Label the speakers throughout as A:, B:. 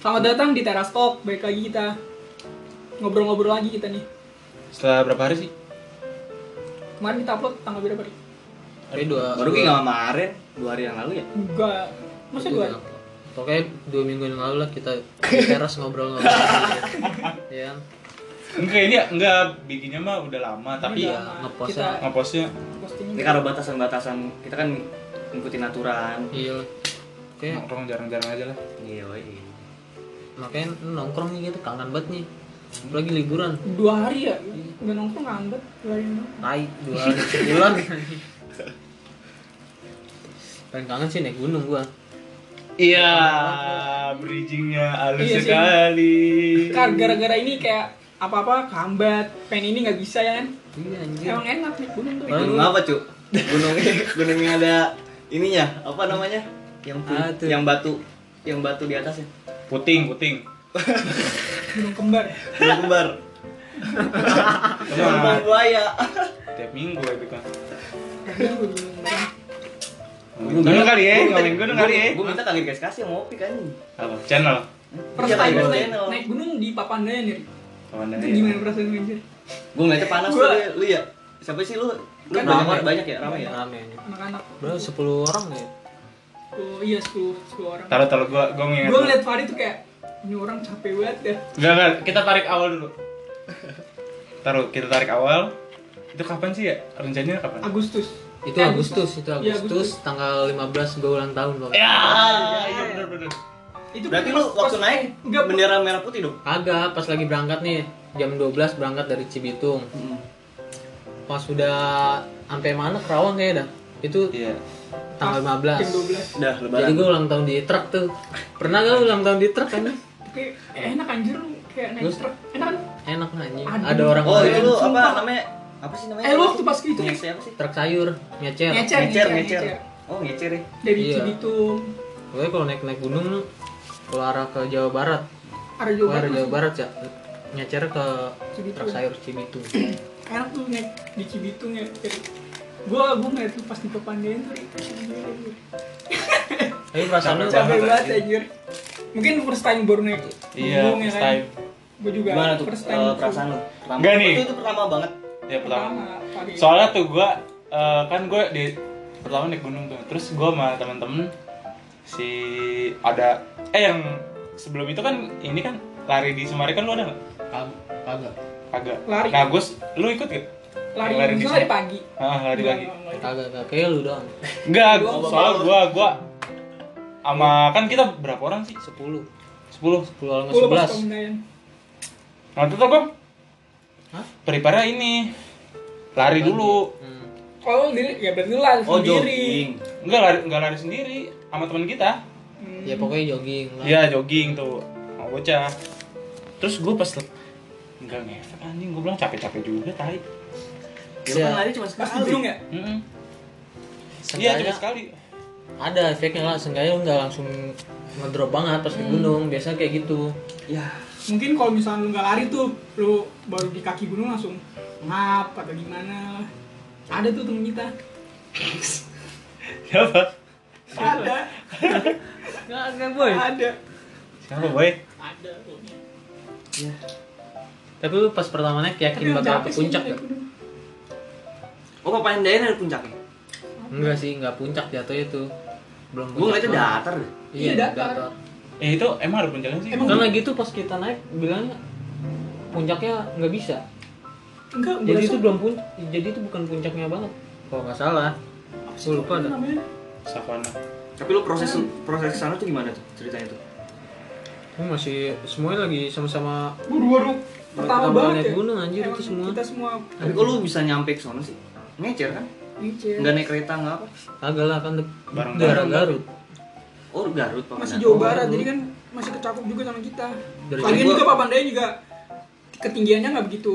A: Selamat datang di Teras Talk, balik lagi kita Ngobrol-ngobrol lagi kita nih
B: Setelah berapa hari sih?
A: Kemarin kita upload tanggal berapa nih?
C: Hari dua.
D: Baru kayak nggak kemarin, dua hari yang lalu ya.
A: Enggak Masa
C: dua.
A: dua?
C: Pokoknya dua minggu yang lalu lah kita di teras ngobrol-ngobrol. Iya. kan?
B: Enggak ini ya, enggak bikinnya mah udah lama tapi
A: Udah
C: ya,
A: lama.
C: ngepostnya.
A: Kita
B: ngepostnya
A: postingnya
D: Ini karena batasan-batasan kita kan ngikutin aturan.
C: Iya. lah. Kayak
B: nongkrong Iya, jarang-jarang aja lah.
D: Iya, iya.
C: makanya nongkrong nih gitu kangen banget nih. Lagi liburan.
A: Dua hari ya? Nggak nongkrong ngambet Dua hari nongkrong.
C: Tai dua hari sebulan. Paling kangen sih naik gunung gua.
B: Iya, bridgingnya halus
A: Iya sih.
B: sekali.
A: Kar,
B: Kan.
A: gara-gara ini kayak apa-apa kehambat Pengen ini nggak bisa ya kan?
C: Iya anjir.
A: Emang enak nih gunung tuh
C: Hah?
D: Gunung apa, Cuk? Gunung gunung yang ada ininya, apa namanya? Yang pun-
C: Ah, tuh.
D: yang batu, yang batu di atasnya.
B: Puting, puting.
A: Gunung kembar ya?
D: Gunung kembar. Gunung
B: Cuma
D: buaya.
B: Nah, tiap minggu itu kan.
A: Gunung kembar.
B: Gunung kali
D: Eh,
B: ya, ngomongin gunung kali ya.
D: Gue minta kagak dikasih kasih sama Opi kan. Iya,
B: Apa? Channel.
A: First time gua
D: ya?
A: naik, naik gunung di Papandayan ya?
B: Kemana
A: Itu
B: ya?
A: gimana perasaan lu, anjir?
D: Gue ngeliatnya panas tuh,
A: Gua-
D: lu, lu ya. Siapa sih lu? Lu
A: Kan
D: banyak,
C: ramai.
D: banyak ya, ramai ya.
C: Rame anjir.
A: Anak-anak
C: Berapa 10 orang ya?
A: Oh iya 10, 10 orang
B: Taruh taruh gua gua nginget.
A: Gue ngeliat Farid tuh kayak Ini orang capek banget ya
B: Enggak, enggak, kita tarik awal dulu. Taruh, kita tarik awal. Itu kapan sih ya? Rencananya kapan?
A: Agustus
C: Itu
A: Eh,
C: Agustus, itu
A: Iya,
C: Agustus tanggal 15 gua ulang tahun, Bang.
B: Ya, iya benar-benar.
A: Itu
D: Berarti lu
A: pas-
D: waktu
A: pas-
D: naik
A: enggak,
D: bendera merah putih dong.
C: Agak pas lagi berangkat nih jam 12 berangkat dari Cibitung.
D: Hmm.
C: Pas sudah sampai mana Kerawang kayaknya dah. Itu
B: Iya.
C: tanggal
A: pas Jam
C: 15.
A: 12
D: Udah
C: Jadi
D: lebaran.
C: gue ulang tahun di truk tuh. Pernah gak lu ulang tahun di truk kan?
A: Kayak eh, enak anjir lu kayak naik
C: Terus?
A: truk Enak kan?
C: Enak anjing.
A: Aduh.
C: Ada orang
D: Oh,
C: lain
D: itu lu
A: Iya, Sumpah.
D: apa namanya? Apa sih namanya?
A: Eh lu waktu pas gitu ya?
D: Ngecer apa sih?
C: truk sayur, ngecer.
A: Ngecer.
D: Ngecer,
A: ngecer.
D: ngecer. Oh, ngecer ya.
A: Dari
C: Iya.
A: Cibitung
C: Gue kalau naik-naik gunung lu kalau arah ke Jawa Barat,
A: Ada
C: kalau
A: juga
C: arah Jawa Barat ya nyecer ke
A: Cibitung
C: truk sayur Cibitung.
A: Enak tuh naik di Cibitung ya Kayak, Gua gua ngeliat lu pas di Kepandian tuh kayak, anjir, anjir.
C: Tapi perasaan lu
A: Capek
B: Banget,
A: banget
B: anjir.
A: anjir Mungkin first time baru naik
B: Iya,
A: gunung, ya
B: first
A: kan?
B: time.
A: Gua juga
D: Gimana tuh
A: first time
D: eh, perasaan lu? Pertama.
B: Enggak nih.
D: Itu, itu pertama banget.
B: Ya pertama.
A: Pertama kali.
B: soalnya tuh gua eh, kan gue di pertama naik gunung tuh terus gua sama temen-temen si ada eh yang sebelum itu kan ini kan lari di Sumari kan lu ada nggak
C: kagak.
B: kagak
A: Lari.
B: nah gue lu ikut gak
A: Lari,
B: Lari di
A: misalnya
B: sini.
A: lari pagi
B: ah lari lagi
A: Lari.
C: Kagak kagak kayak lu doang.
B: enggak soalnya gua gua sama kan kita berapa orang sih
C: 10.
B: 10
C: 10 orang
A: Gua pas
C: 11.
A: Kepandian.
B: nah itu tuh gue
C: Hah?
B: prepare ini lari dulu
C: Hmm.
A: Oh, diri, ya berarti lu lari
D: Oh,
A: sendiri.
D: jogging.
B: enggak lari enggak lari sendiri sama teman kita
A: Hmm.
C: Ya pokoknya jogging lah.
B: Iya jogging tuh mau bocah. Terus gue pas lep- nggak ngefek anjing gue bilang capek-capek juga tai.
D: Ya, lu kan
C: Ya.
D: lari cuma
A: Pas di
D: sekali.
A: gunung ya?
B: Mm-mm. Iya
C: Seenggaknya
B: cuma sekali.
C: ada efeknya lah, seenggaknya lu nggak langsung ngedrop banget pas di gunung, biasanya kayak gitu.
D: Ya.
A: Mungkin kalau misalnya lu nggak lari tuh, lu baru di kaki gunung langsung ngap atau gimana. Ada tuh temen kita.
B: Siapa?
A: Ada,
C: Nggak, nggak
A: ada.
B: Siapa boy?
A: Ada. pokoknya.
C: Tapi lu pas pertama naik
A: Tapi
C: yakin
A: yang
C: bakal
A: capek
C: ke
A: sih
C: puncak
A: naik
C: gak?
A: gunung.
D: Oh, Papa Dayan ada puncaknya.
C: Enggak sih, enggak puncak jatuh itu. Belum
D: Gue ngeliatnya
C: banget.
D: datar deh.
C: Iya,
A: Iya, datar.
C: datar.
B: Eh itu emang ada puncaknya sih.
A: Emang-
C: Karena gitu pas kita naik bilangnya puncaknya nggak bisa.
A: Enggak,
C: Jadi itu belum puncak. Jadi itu bukan puncaknya banget. Kalau nggak salah. Aku lupa dah.
A: namanya.
B: Savana.
D: Tapi lu proses proses sana tuh gimana tuh ceritanya tuh?
C: Ini masih semuanya lagi sama-sama
A: Buru-buru. Pertama
C: pertama
A: banget
C: naik
A: ya.
C: gunung anjir
A: Emang
C: itu semua.
A: Kita semua
D: Tapi kok lu bisa nyampe ke sana sih? Ngecer kan?
A: Micer.
D: Nggak naik kereta nggak apa?
C: Kagak lah kan
B: Bareng
C: daerah
B: Garut.
C: Garut.
D: Oh Garut Oh, Papa
A: Masih
D: Dayan.
A: Jawa Barat, jadi kan masih kecakup juga sama kita.
C: Dari
A: Lagian
D: Jawa-
A: juga Papandayan juga ketinggiannya nggak begitu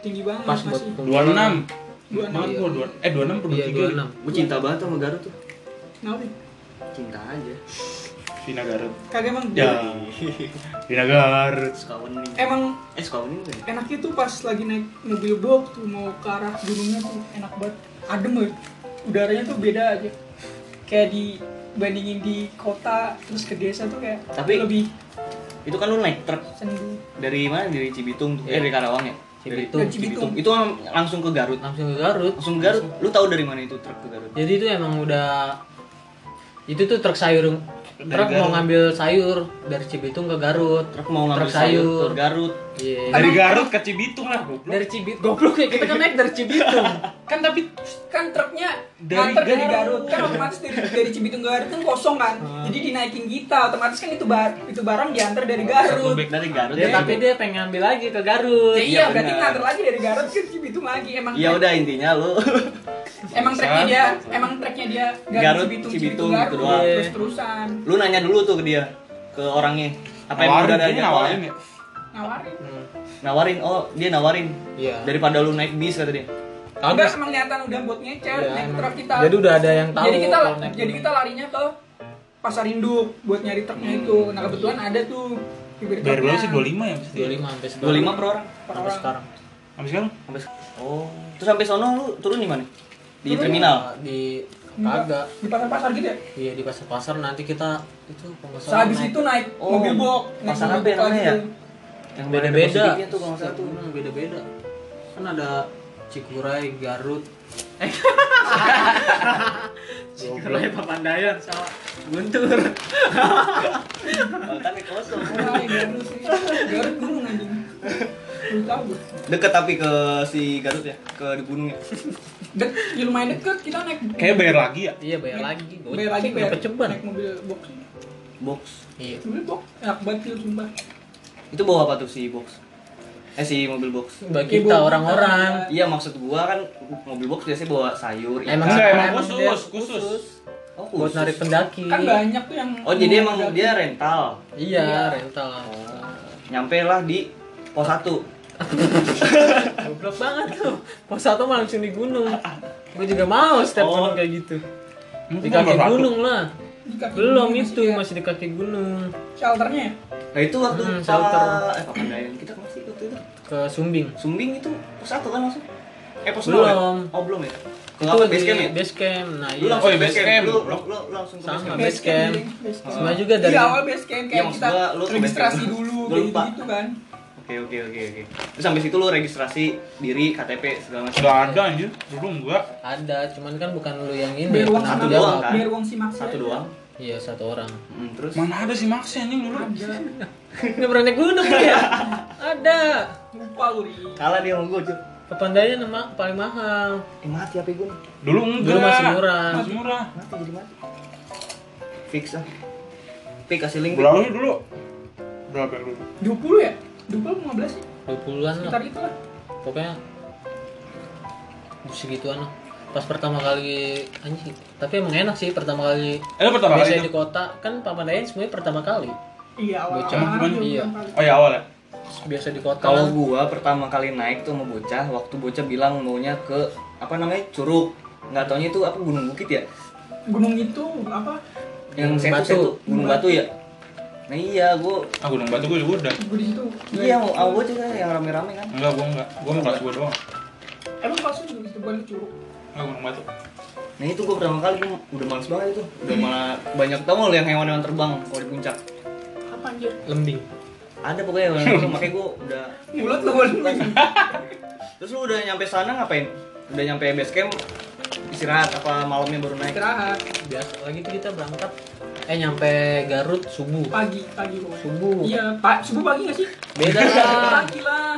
A: tinggi banget
C: Pas buat
A: masih.
B: Dua enam.
A: 26.
B: Banget gue dua. Eh dua enam
C: Iya, 26.
D: Gue cinta banget sama Garut tuh.
A: Kenapa?
D: Cinta aja.
B: Vina Garut.
A: Kagak emang
B: Ya. Vina Garut.
D: Sekawan ini.
A: emang
D: eh sekawan ini kan?
A: enaknya tuh pas lagi naik mobil box tuh mau ke arah gunungnya tuh enak banget adem ya udaranya tuh beda aja kayak dibandingin di kota terus ke desa tuh kayak
D: Tapi-
A: lebih
D: Itu kan lu naik truk
A: Sendu.
D: dari mana? Dari Cibitung tuh. Eh
C: Iya.
D: dari Karawang ya? Dari-
C: Cibitung.
D: dari Cibitung. Itu lang- langsung ke Garut.
C: langsung ke Garut
D: Langsung ke Garut. Lu tahu dari mana itu truk ke Garut?
C: jadi itu emang udah itu tuh truk sayur truk mau
B: Garut.
C: ngambil sayur dari Cibitung ke Garut
D: Truk mau ngambil
C: Truk
D: sayur,
C: sayur.
D: ke Garut.
C: iya
B: Dari Garut ke Cibitung lah goblok.
C: dari Cibit goblok ya kita kan naik dari Cibitung
B: Kan tapi
A: kan truknya
B: Dari
A: nganter dari
B: Garut.
A: Garut kan otomatis dari, dari Cibitung ke Garut kan kosong kan jadi dinaikin kita otomatis kan itu bar itu barang diantar dari
B: Satu
A: Garut
B: bag.
D: Dari Garut.
C: dia
D: ya.
C: tapi dia pengen ngambil lagi ke Garut
A: ya, iya
D: Iya,
A: berarti
D: benar.
A: nganter lagi dari Garut ke Cibitung lagi emang
D: Iya udah intinya lu
A: emang treknya dia emang treknya dia
D: Garut,
A: Garut, Cibitung,
D: Cibitung,
A: Cibitung,
D: gitu
A: Garut
D: doang.
A: terus terusan
D: lu nanya dulu tuh ke dia ke orangnya apa yang
B: nawarin,
D: udah ada
B: kayaknya nawarin
D: jadwalnya?
B: ya.
A: nawarin
C: Hmm,
D: nawarin oh dia nawarin
C: iya
D: daripada lu naik bis kata dia
A: Enggak,
C: Kagak.
A: emang niatan udah buat ngecer,
C: Iya,
A: naik
C: emang.
A: truk kita.
C: Jadi udah ada yang tahu
A: Jadi kita,
C: kalau naik
A: jadi
C: gunung.
A: kita larinya ke pasar induk buat nyari truknya itu.
C: Hmm.
A: Nah kebetulan ada tuh bibir
B: Bayar
A: truknya.
B: berapa sih? 25 ya mesti.
C: 25 sampai sekarang
D: 25 per orang
A: Per
C: sampai
A: orang.
C: sekarang
B: Habis sekarang?
D: sampai oh terus sampai sono lu turun di mana di
A: Turun.
D: terminal
C: Nah, di
A: Enggak,
C: kagak
A: Di pasar-pasar gitu ya.
C: iya di pasar pasar nanti kita itu kalau nggak salah
A: Sehabis
C: naik-
A: itu naik
D: Oh,
A: mobil box. naik
D: pasar
A: mobil
D: apa ya
A: box
D: namanya ya?
A: gitu.
D: yang
C: beda beda
D: positifnya tuh kalau nggak salah tuh
C: beda beda Hmm, kan ada Cikuray Garut
D: Eh.
C: Cikuray Papandayan sama Guntur
D: Baltan ya kosong
A: Nah, ya, Garut sih. Garut gunung anjing. Belum tahu gue.
D: deket tapi ke si Garut ya ke di gunung ya
A: Dek, ya lumayan deket kita naik.
B: Kayaknya bayar lagi ya.
C: iya bayar lagi goceng,
A: Bayar lagi bayar.
C: dapet ceban
A: Naik mobil box.
D: box
C: iya
A: Mobil box enak banget sih sumpah.
D: itu bawa apa tuh si box eh si mobil box
C: bagi kita orang-orang
D: iya maksud gua kan mobil box biasanya bawa sayur ikan.
C: Emang
B: Enggak, emang
C: emang dia
B: khusus, khusus.
D: oh,
C: buat
D: khusus.
C: narik pendaki
A: Kan banyak tuh yang
D: oh jadi emang dia rental
C: iya rental
D: nyampe lah di pos 1
C: goblok banget tuh pos satu mah langsung di gunung gue juga mau step
D: Oh.
C: gunung kayak gitu
B: Mungkin
C: di kaki
B: nomor satu.
C: gunung lah
A: Di kaki
C: belum
A: gunung
C: itu
A: ya.
C: masih di kaki gunung
A: shelternya ya?
D: Nah itu waktu
C: Hmm,
D: Pak-
C: shelter.
D: eh Pak Pandayan kita masih waktu itu.
C: ke Sumbing
D: Sumbing itu pos satu kan langsung. Eh pos
C: Belum.
D: nol ya? Oh belum ya. Ke
C: itu
D: apa
C: di
D: base camp ya?
C: base camp. nah
D: Lu
C: iya
B: Oh,
D: langsung
B: iya,
D: ke base
B: base
D: camp.
B: camp.
D: Lu, lu, lu langsung ke base
C: Sama.
D: camp.
C: Base camp.
A: base camp.
C: Sama juga dari-
A: Iya, awal base camp
D: Iya,
A: kayak
D: maksud
A: kita
D: gua lu ke base
A: registrasi
D: camp.
A: dulu
D: Gua
A: kayak
D: lupa.
A: gitu kan.
D: Oke oke oke oke. Terus sampai situ lu registrasi diri KTP segala macam.
B: Sudah ada anjir, belum gua.
C: ada cuman kan bukan lu yang ini
A: Biar uang
C: yang
A: sama
D: satu
C: jawab.
D: doang, kan?
A: biar uang si Max.
D: Satu doang.
C: iya satu orang
D: Mm, terus
B: Mana ada si Maxi anjing dulu.
A: Ada.
C: nggak pernah naik gunung lu ya ada
A: Lupa lu, Ri.
D: kalah dia sama gua, Cuk.
C: Papandayan nama paling mahal
D: Eh mati HP gua nih.
B: Dulu enggak.
C: dulu masih murah
B: Masih murah.
D: Mati jadi mati. Fix ah. Fix kasih link.
B: Berapa sih dulu? Berapa yang dulu?
A: 20 ya? 20 15 sih.
C: 20-an lah
D: Iya.
A: Sekitar itu lah.
C: pokoknya segituan lah pas pertama kali anjing tapi emang enak sih pertama kali
B: Eh, lu pertama
C: biasanya
B: kali.
C: di kota kan Papandayan semuanya pertama kali
A: Iya, awal
C: Bocah,
A: awal
B: cuman
A: dia
C: iya.
A: ulang kali.
B: Oh ya awal ya.
C: biasa di kota
D: Kalau
C: kan.
D: gua pertama kali naik tuh sama bocah, waktu bocah bilang maunya ke apa namanya curug, nggak taunya itu apa gunung bukit ya,
A: Gunung itu apa?
D: yang
C: Gunung
D: setu
C: Batu.
D: setu gunung batu ya. Nah iya gua,
B: Ah, Gunung Batu gua juga udah.
A: Gue di situ.
D: iya mau ah, gua juga yang rame-rame kan.
B: Enggak, gua enggak. Gua mau kelas gua doang.
A: Emang kelas lu juga di situ bukan di curug.
B: Enggak Gunung Batu.
D: Nah itu gua pertama kali gua udah males banget itu, udah malah banyak tau nggak lu yang hewan-hewan terbang kalau di puncak.
A: Apa anjir?
C: lembing
D: Ada pokoknya hewan terbang, makanya gua udah.
A: Mulut lu mulut lu.
D: Iya. Terus lu udah nyampe sana ngapain? Udah nyampe base camp istirahat apa malamnya baru naik?
A: Istirahat
C: biasa lagi tuh kita berangkat eh nyampe Garut subuh
A: pagi pagi pokoknya.
C: Subuh.
A: Iya, Pak. Subuh pagi nggak sih?
C: beda lah
A: Pagi lah.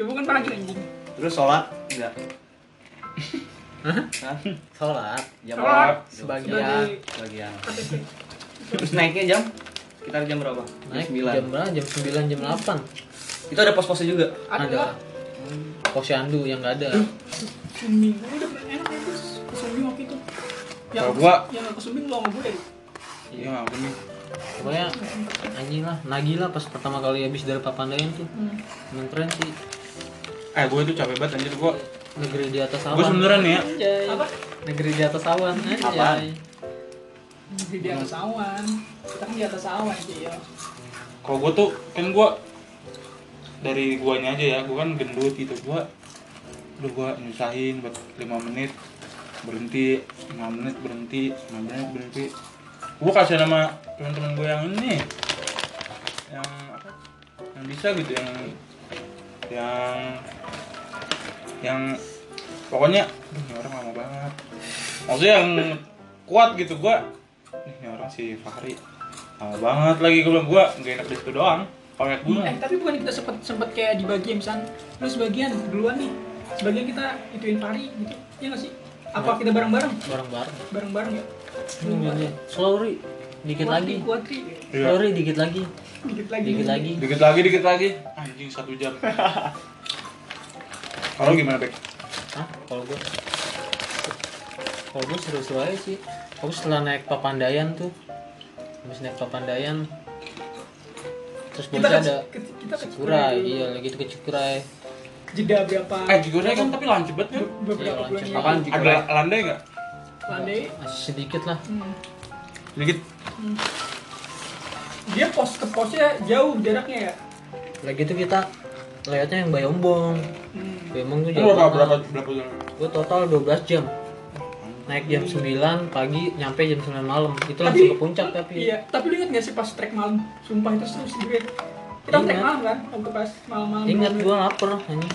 A: Coba kan pagi anjing.
D: Terus sholat enggak? Hah?
C: sholat
D: Jam
A: Sholat.
D: berapa?
C: sebagian
A: Sebagai
D: Bagian.
A: KTP.
D: Terus naiknya jam? Sekitar jam berapa?
C: naik
D: jam 9.
C: jam berapa jam 9 jam 8
D: Itu ada pos-posnya juga.
A: Ada lah.
C: ada posyandu yang nggak ada
A: Sumbing, gue udah pernah enak itu ke Sumbing waktu itu. Ya, Yang
B: Kalau gua-
A: yang ke Sumbing lo nggak boleh.
B: Iya, bener.
C: pokoknya anjing lah nagih lah pas pertama kali habis dari Papandayan tuh
A: Hmm.
C: emang keren sih
B: Eh, gua itu capek banget anjir gua.
C: negeri di atas awan
B: Gua sebenernya nih ya.
C: Anjay.
A: Apa?
C: negeri di atas awan
D: Apaan?
C: anjay
A: Di, di atas awan. Kita kan di atas awan sih ya.
B: Kalau gua tuh kan gua dari guanya aja ya, gua kan gendut gitu. Gua udah gua nyusahin buat 5 menit berhenti, 5 menit berhenti, 5 menit berhenti. Gua kasih nama teman-teman gua yang ini. Yang bisa gitu yang yang yang pokoknya "Aduh, ini orang lama banget maksudnya yang kuat gitu gua "Nih, ini orang si Fahri lama banget lagi gua bilang, gua nggak enak di situ doang pamit gua
A: Eh, tapi bukan kita sempet sempet kayak dibagi misalnya lu sebagian duluan nih. Sebagian kita ituin pari gitu. Iya nggak sih? Apa kita bareng-bareng?
C: bareng-bareng.
A: Bareng-bareng ya.
C: Ini Sorry, dikit lagi.
A: Kuatri.
B: Iya.
C: Sorry, dikit lagi.
A: Dikit lagi.
C: Dikit lagi.
B: dikit lagi dikit lagi anjing satu jam kalau gimana Bek?
C: Hah? Kalau gua Kalau gua seru-seru aja sih. Aku setelah naik Papandayan tuh. Habis naik Papandayan terus
A: Kita
C: bocah
A: ke-
C: ada
A: ke- kita ke
C: Cikuray,
A: Cikuray dulu.
C: iya lagi tuh ke Cikuray.
A: Jeda berapa?
B: eh Cikuray kan tapi lancip banget kan
A: be- beberapa
C: Iya,
A: bulan
C: lanjut.
A: ya.
D: Apaan
B: ada
D: Cikuray?
B: landai nggak
A: Landai.
C: Masih sedikit lah.
A: Hmm.
B: sedikit
A: Dia pos ke posnya jauh jaraknya ya.
C: Lagi tuh kita lewatnya yang Bayombong.
A: Hmm.
C: Bayombong tuh jauh.
B: berapa
C: banget.
B: berapa berapa jam
C: Gue total 12 jam naik jam 9 pagi nyampe jam 9 malam itu langsung ke puncak tapi
A: Iya, tapi lu ingat nggak sih pas trek malam? Sumpah itu seru sih gue. Kita
C: Ingat.
A: trek malam kan, waktu pas malam-malam.
C: ingat gue lapar hanya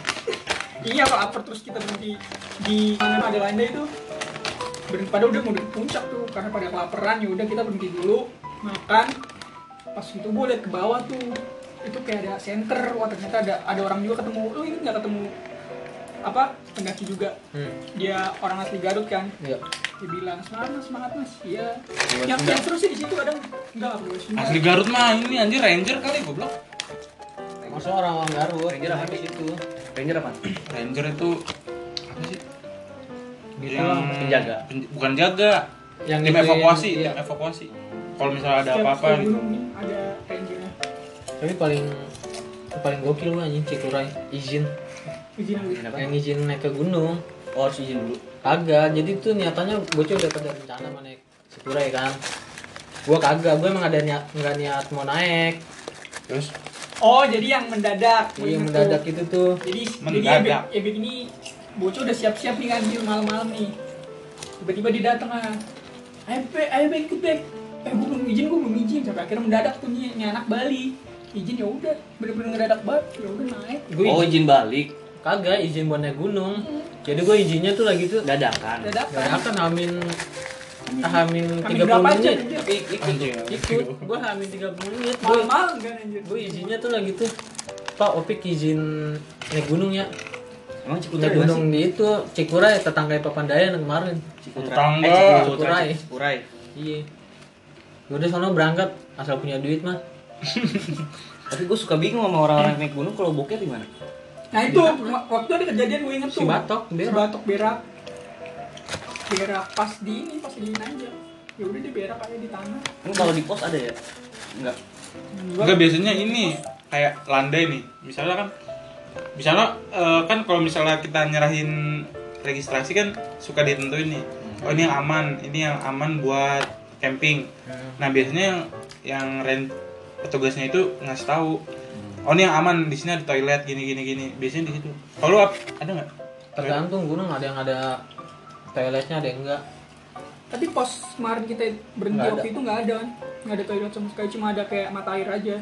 A: Iya, kalau upper terus kita berhenti di mana ada landai itu. Berhenti pada udah mau di puncak tuh karena pada kelaparan ya udah kita berhenti dulu makan. Pas itu gue liat ke bawah tuh itu kayak ada center, wah ternyata ada ada orang juga ketemu. Lu ingat nggak ketemu apa pendaki juga?
C: hmm,
A: Dia orang asli Garut kan?
C: iya
A: Dia bilang semangat mas, semangat mas. Iya.
D: Buat
A: Yang,
D: Sunda.
A: yang seru sih di situ kadang enggak perlu Sunda.
B: asli Garut mah ini anjir ranger kali goblok
C: maksud orang orang Garut
D: Kira-kira
C: naik
D: apa sih?
C: itu
D: Ranger apa?
B: ranger itu apa sih
C: gitu
B: yang
C: lah.
D: penjaga.
B: pen- bukan jaga
C: Yang
B: tim
C: itu-
B: evakuasi
C: iya.
B: tim evakuasi kalau misalnya ada
A: Setiap-
B: apa-apa
A: setiap
B: gitu
A: gunung nih ada rangernya.
C: tapi paling paling gokil gue anjing cikuray izin
A: Izin dulu.
D: Ranger apa?
C: yang izin naik ke gunung
D: Oh, harus izin dulu.
C: kagak jadi tuh niatannya bocah udah pada rencana mau naik cikuray kan gue kagak gue emang ada niat nggak niat mau naik
B: terus
A: Oh, jadi yang mendadak. Gua
C: Iya
A: ingat
C: mendadak
A: tuh.
C: itu tuh
A: Jadi jadi
B: Mendadak.
A: Ebek, Ebek ini bocah udah siap-siap nih kan di malam-malam nih. Tiba-tiba dia datang ah. Ayo Bek, ayo Bek, ikut Bek. Eh, gue belum izin, gue belum izin. Sampai akhirnya mendadak tuh nih, nih anak Bali. Izin ya udah, bener-bener ngedadak banget. Ya udah naik.
C: gue
D: Oh, izin balik.
C: kagak izin buat naik gunung jadi gue izinnya tuh lagi tuh
D: Dadakan.
C: Gak
A: Dadakan.
C: akan hamin hamin
A: Kami
C: 30
A: berapa jam
C: menit
A: anjir?
C: tapi ikut
B: Anjing,
C: ikut gue hamin 30 menit gue
A: Malam-malam kan anjir.
C: gue izinnya tuh lagi tuh pak opik izin naik gunung ya
D: Emang Cikuray
C: naik
D: mana sih?
C: gunung di itu Cikuray tetangga Papandayan yang kemarin
D: Cikuray.
B: Tetangga.
D: Eh, Cikuray.
C: Cikuray.
D: Cikuray.
C: iya gue udah sono berangkat asal punya duit mah
D: Tapi gue suka bingung sama orang-orang yang naik gunung kalau bokeh gimana?
A: Nah itu wa- waktu ada kejadian gue inget
C: si
A: tuh.
C: batok
A: Si
C: berak
A: batok berak. Berak pas di ini pas dingin aja. Ya udah dia berak aja di tanah.
D: Kan kalau di pos ada ya? Enggak.
A: Gua-
B: enggak biasanya ini kayak landai nih misalnya kan misalnya eh, kan kalau misalnya kita nyerahin registrasi kan suka ditentuin nih oh ini yang aman ini yang aman buat camping
C: Hmm.
B: nah biasanya yang yang ren- petugasnya itu ngasih tahu oh ini yang aman di sini ada toilet gini gini gini biasanya di situ kalau lu ap- ada nggak
C: tergantung gunung ada yang ada toiletnya ada yang enggak
A: Tapi pos kemarin kita berhenti
C: Nggak
A: waktu itu nggak ada kan? Nggak ada toilet sama sekali, cuma ada kayak mata air aja.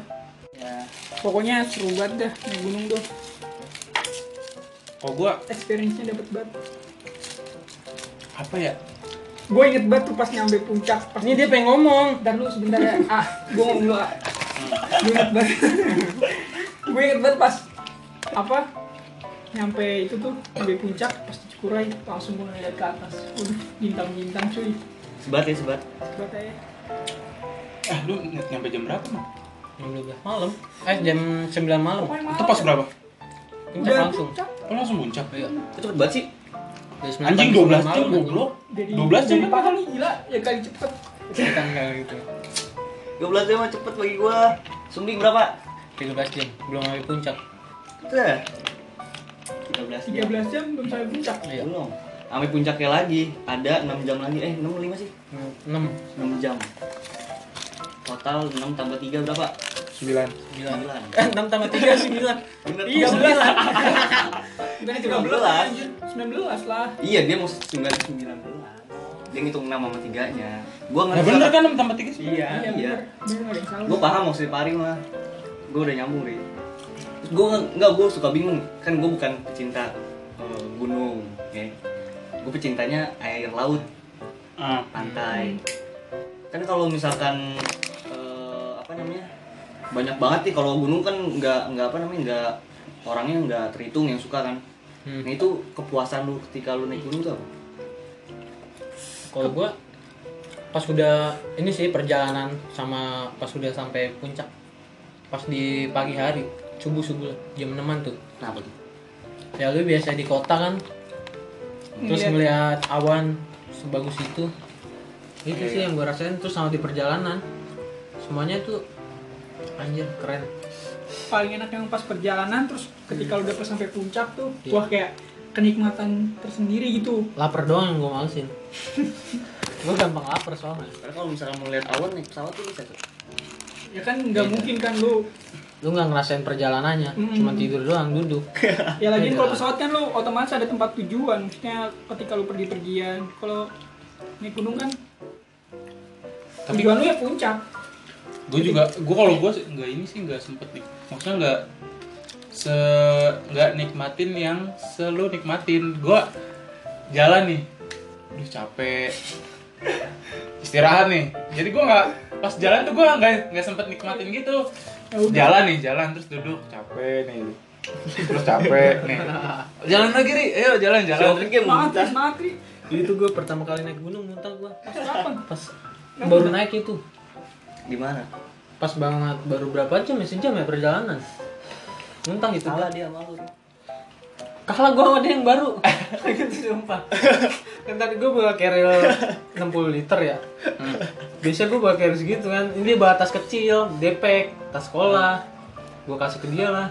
D: Ya.
A: Pokoknya seru banget dah naik gunung tuh.
B: kalau gua
A: Experience-nya dapet banget.
B: apa ya
A: Gue inget banget tuh pas nyampe puncak. Pas
C: ini dia pengen ngomong
A: Dan lu sebentar ya. Ah, gue ngomong dulu ah. Gue inget banget. gue inget banget pas apa? Nyampe itu tuh nyampe puncak pas di Cikuray langsung gue ngeliat ke atas. Udah bintang-bintang cuy.
D: Sebat ya, sebat.
A: Sebat aja.
B: eh lu ny- nyampe jam berapa mah
C: jam 12 malam Ya eh jam 9 malam
A: Pokoknya
B: itu
A: malam.
B: pas berapa
C: puncak
A: Udah
C: langsung
A: puncak.
B: lu langsung puncak
C: iya
D: Itu cepet banget sih.
C: Dari 9
B: anjing 12
C: pagi sampai
B: jam
C: malam, anjing.
B: goblok
A: Jadi
B: 12 jam
A: jadi mahal nih gila ya kali cepet.
C: Sekitar kayak gitu
D: 12 jam mah cepet bagi gua. Sumbing berapa?
C: 13 jam belum sampai puncak
D: Teh. 13 jam.
A: 13 jam belum sampai puncak.
C: iya
D: Belum. Sampai puncaknya lagi ada 6 jam lagi. Eh, 6 lima sih?
C: 6 9
D: 6 jam. Total 6 tambah 3 berapa?
B: 9
D: 9.
C: 6 Eh, tambah 3 9
D: Bener.
A: Iya,
D: 13.
A: 19
D: 19.
A: anjir. 19 lah.
D: Iya, dia maksud 9 19. Dia ngitung 6 sama 3-nya. Gua
B: Nah,
D: ngerti.
B: bener kan 6 tambah 3 sih?
D: Iya,
A: Iya,
D: iya.
A: bener. Bener, nggak ada yang salah.
D: Gua paham maksud Pari mah. Gua udah nyambung, Ri. gue nggak gue suka bingung kan gue bukan pecinta eh, gunung ya gue pecintanya air laut
B: ah
D: pantai kan kalau misalkan eh, apa namanya banyak banget nih kalau gunung kan nggak nggak apa namanya nggak orangnya nggak terhitung yang suka kan
C: Hmm.
D: nah itu kepuasan lu ketika lu naik gunung tuh apa?
C: kalau gua pas udah ini sih perjalanan sama pas udah sampai puncak pas di pagi hari subuh subuh jam 6 tuh
D: kenapa tuh
C: ya lu biasa di kota kan terus
A: Iya.
C: melihat awan sebagus itu itu
D: Iya,
C: sih yang gua rasain terus sama di perjalanan semuanya tuh anjir keren
A: paling enak yang pas perjalanan terus ketika udah pas sampai puncak tuh
C: Iya.
A: wah kayak kenikmatan tersendiri gitu
C: lapar doang yang gue malesin gue gampang lapar soalnya
D: karena kalau misalkan mau lihat awan naik pesawat tuh bisa tuh
A: ya kan nggak
C: Iya.
A: mungkin kan lu
C: lu nggak ngerasain perjalanannya
A: Mm-mm.
C: cuma tidur doang duduk
A: ya lagi
C: Iya.
A: kalau pesawat kan lu otomatis ada tempat tujuan maksudnya ketika lu pergi-pergian kalau naik gunung kan
B: Tapi-
A: tujuan lu ya puncak
B: gue juga gue kalau gue nggak ini sih nggak sempet nih maksudnya nggak se nggak nikmatin yang selalu nikmatin gue jalan nih aduh capek istirahat nih jadi gue nggak pas jalan tuh gue nggak nggak sempet nikmatin gitu
A: Ya udah.
B: jalan nih jalan terus duduk capek nih terus capek nih jalan lagi ri ayo jalan jalan
D: Iya,
A: mati mati
C: itu gue pertama kali naik gunung muntah gue
A: pas kapan
C: pas baru naik itu
D: di mana
C: pas banget baru berapa jam ya sejam ya perjalanan muntah gitu
D: salah dia malu
C: kalah gue sama dia yang baru gitu sumpah kan tadi gue bawa keril 60 liter ya biasa gue bawa keril segitu kan ini dia bawa tas kecil depek tas sekolah gue kasih ke dia lah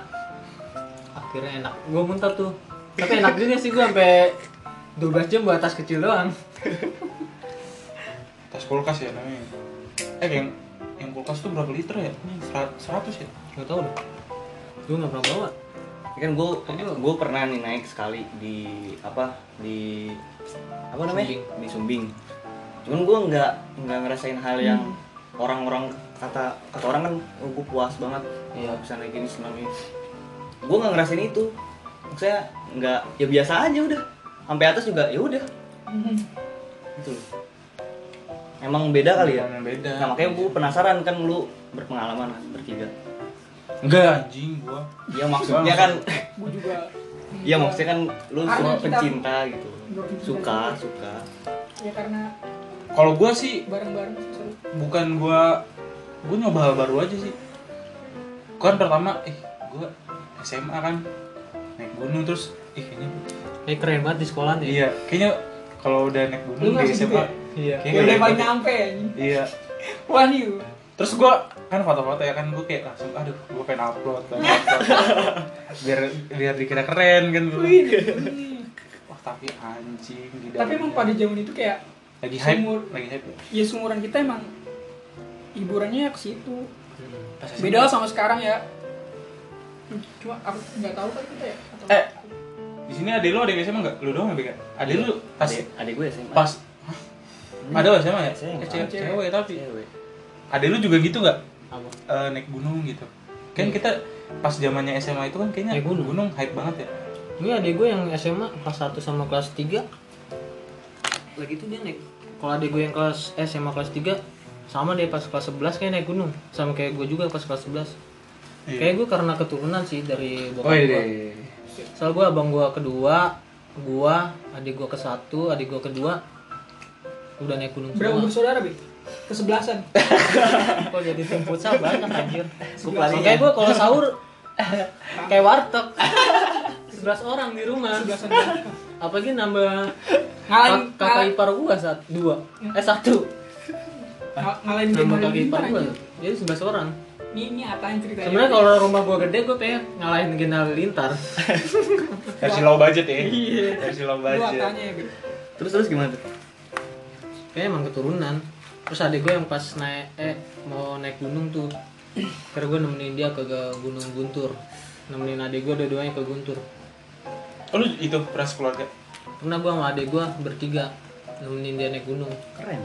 C: akhirnya enak gue muntah tuh tapi enak juga sih gue sampai 12 jam bawa tas kecil doang
B: tas kulkas ya namanya eh yang yang kulkas tuh berapa liter ya ini serat- 100 ya
C: gak tau deh gue gak pernah bawa
D: Ya kan gue gue pernah nih naik sekali di apa di apa namanya
C: Sumbing.
D: di Sumbing cuman gue nggak nggak ngerasain hal yang orang-orang kata kata orang kan oh, gue puas banget ya bisa naik ini senam ini gue nggak ngerasain itu maksudnya nggak ya biasa aja udah sampai atas juga ya udah
A: Mhm.
D: gitu loh emang beda kali ya
B: Emang beda.
D: nah makanya gue penasaran kan lu berpengalaman kan bertiga
B: Enggak anjing gua.
D: iya maksudnya kan
A: gua juga
D: Iya maksudnya kan lu
A: Karena
D: semua
A: kita-
D: pencinta gitu.
A: Gua pencinta
D: Suka,
A: juga.
D: suka.
A: ya karena
B: Kalau gua sih
A: bareng-bareng sih seru.
B: bukan gua gua nyoba hal baru aja sih. Kan pertama eh gua SMA kan naik gunung terus ih kayaknya
A: Iya.
C: kayak Eh, keren banget di ya. sekolah nih
B: iya kayaknya kalau udah naik
A: Lu
B: gunung di
A: masih gitu
B: SMA
A: ya?
C: iya
A: ya udah
B: kayaknya
A: paling
B: naik-
A: nyampe ya
B: iya
A: wah nih
B: terus gua kan foto-foto ya kan gua kayak langsung aduh gua pengen upload pengen upload biar biar dikira keren kan gua.
A: wih hmm.
B: wah tapi anjing di
A: tapi emang
B: dalamnya.
A: pada zaman itu kayak
B: lagi hype
A: sumur.
B: lagi hype
A: ya seumuran kita emang hiburannya ya ke situ
B: Pas SMA.
A: beda sama sekarang ya cuma aku nggak tahu kan kita ya atau
B: Eh. di sini ada lu ada yang SMA enggak lu doang yang BK ada lu pas
D: Adek- adek gue SMA.
B: pas Hah? ada loh SMA ya
D: SMA.
B: Eh, cewek, cewek tapi
D: Cewek.
B: ada lu juga gitu nggak
C: apa
B: Eh, naik gunung gitu kan
C: Iya.
B: kita pas zamannya SMA itu kan kayaknya
C: Naik gunung.
B: hype banget ya
C: Ini adik gue yang SMA kelas 1 sama kelas 3 Lagi itu dia naik Kalau adik gue yang kelas eh, SMA kelas 3 Sama deh pas kelas 11 kayak naik gunung Sama kayak gue juga pas kelas 11
B: Iya.
C: Kayak gue karena keturunan sih dari bokap
B: oh iya
C: gue
B: deh.
D: Eh,
C: Soal gue abang gue kedua Gue, adik gue ke satu, adik gue kedua Udah naik gunung
A: berapa
C: semua
A: bersaudara be kesebelasan
C: Kok jadi tim futsal banyak anjir
D: Suka
A: Larinya.
C: Makanya gue kalau sahur Kayak warteg 11 orang di rumah
A: kesebelasan
C: Apalagi nambah
A: ngalahin
C: Kak- kakak ipar gua saat dua eh satu
A: ngal- ngalahin
C: nama
A: gimana
C: kakak ipar
A: gimana
C: gua
A: aja.
C: jadi sebelas orang
A: ini ini apa yang ceritanya
C: sebenarnya kalau rumah gua gede gua pengen ngalahin Genal Lintar
B: versi low budget ya
A: Iya.
B: versi low
A: lu
B: budget
A: apanya ya be
D: Terus terus gimana tuh?
C: kayak emang keturunan terus adik gua yang pas naik eh mau naik gunung tuh karena gua nemenin dia ke ke gunung Guntur nemenin adik gua dua-duanya ke Guntur
B: oh, lu itu pras keluarga
C: pernah gua sama adik gua bertiga nemenin dia naik gunung
D: Keren.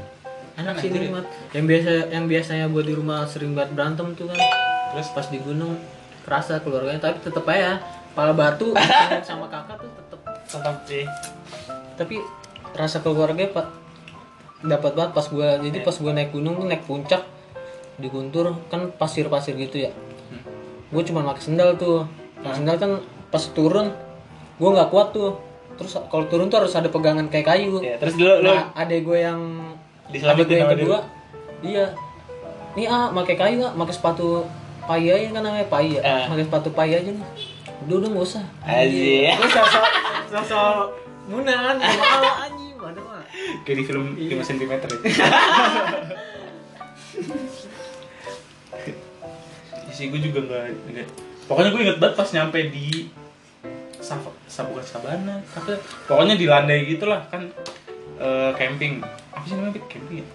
C: enak sih nikmat yang biasa yang biasanya buat di rumah sering banget berantem tuh kan
B: terus
C: pas di gunung kerasa keluarganya tapi tetep aja pala batu sama- sama kakak tuh tetep
D: tetap sih
C: tapi rasa keluarga pak dapat banget pas gua jadi pas gua naik gunung tuh naik puncak di Guntur kan pasir-pasir gitu ya
D: Hmm.
C: gue cuma pakai sendal tuh pakai sendal kan pas turun gua nggak kuat tuh terus kalau turun tuh harus ada pegangan kayak kayu
D: ya terus dulu lo
C: nah adek gue yang
D: Diselamatin
C: adek gue yang
D: sama dia.
C: kedua iya nih ah pakai kayu ah pakai sepatu pai aja kan namanya pai ya
D: Ah.
C: pakai sepatu pai aja nih udah udah nggak usah Iya.
D: Aziz
C: Gue sosok sosok munan malah anjing mana mah.
B: kayak di film 5 cm ya. Isi gue Iya juga nggak nggak- Pokoknya gue inget banget pas nyampe di Saf Sa- bukan Sabana, apa? ya? Pokoknya di landai gitulah kan eh, camping. Apa sih namanya? Pit? Camping ya?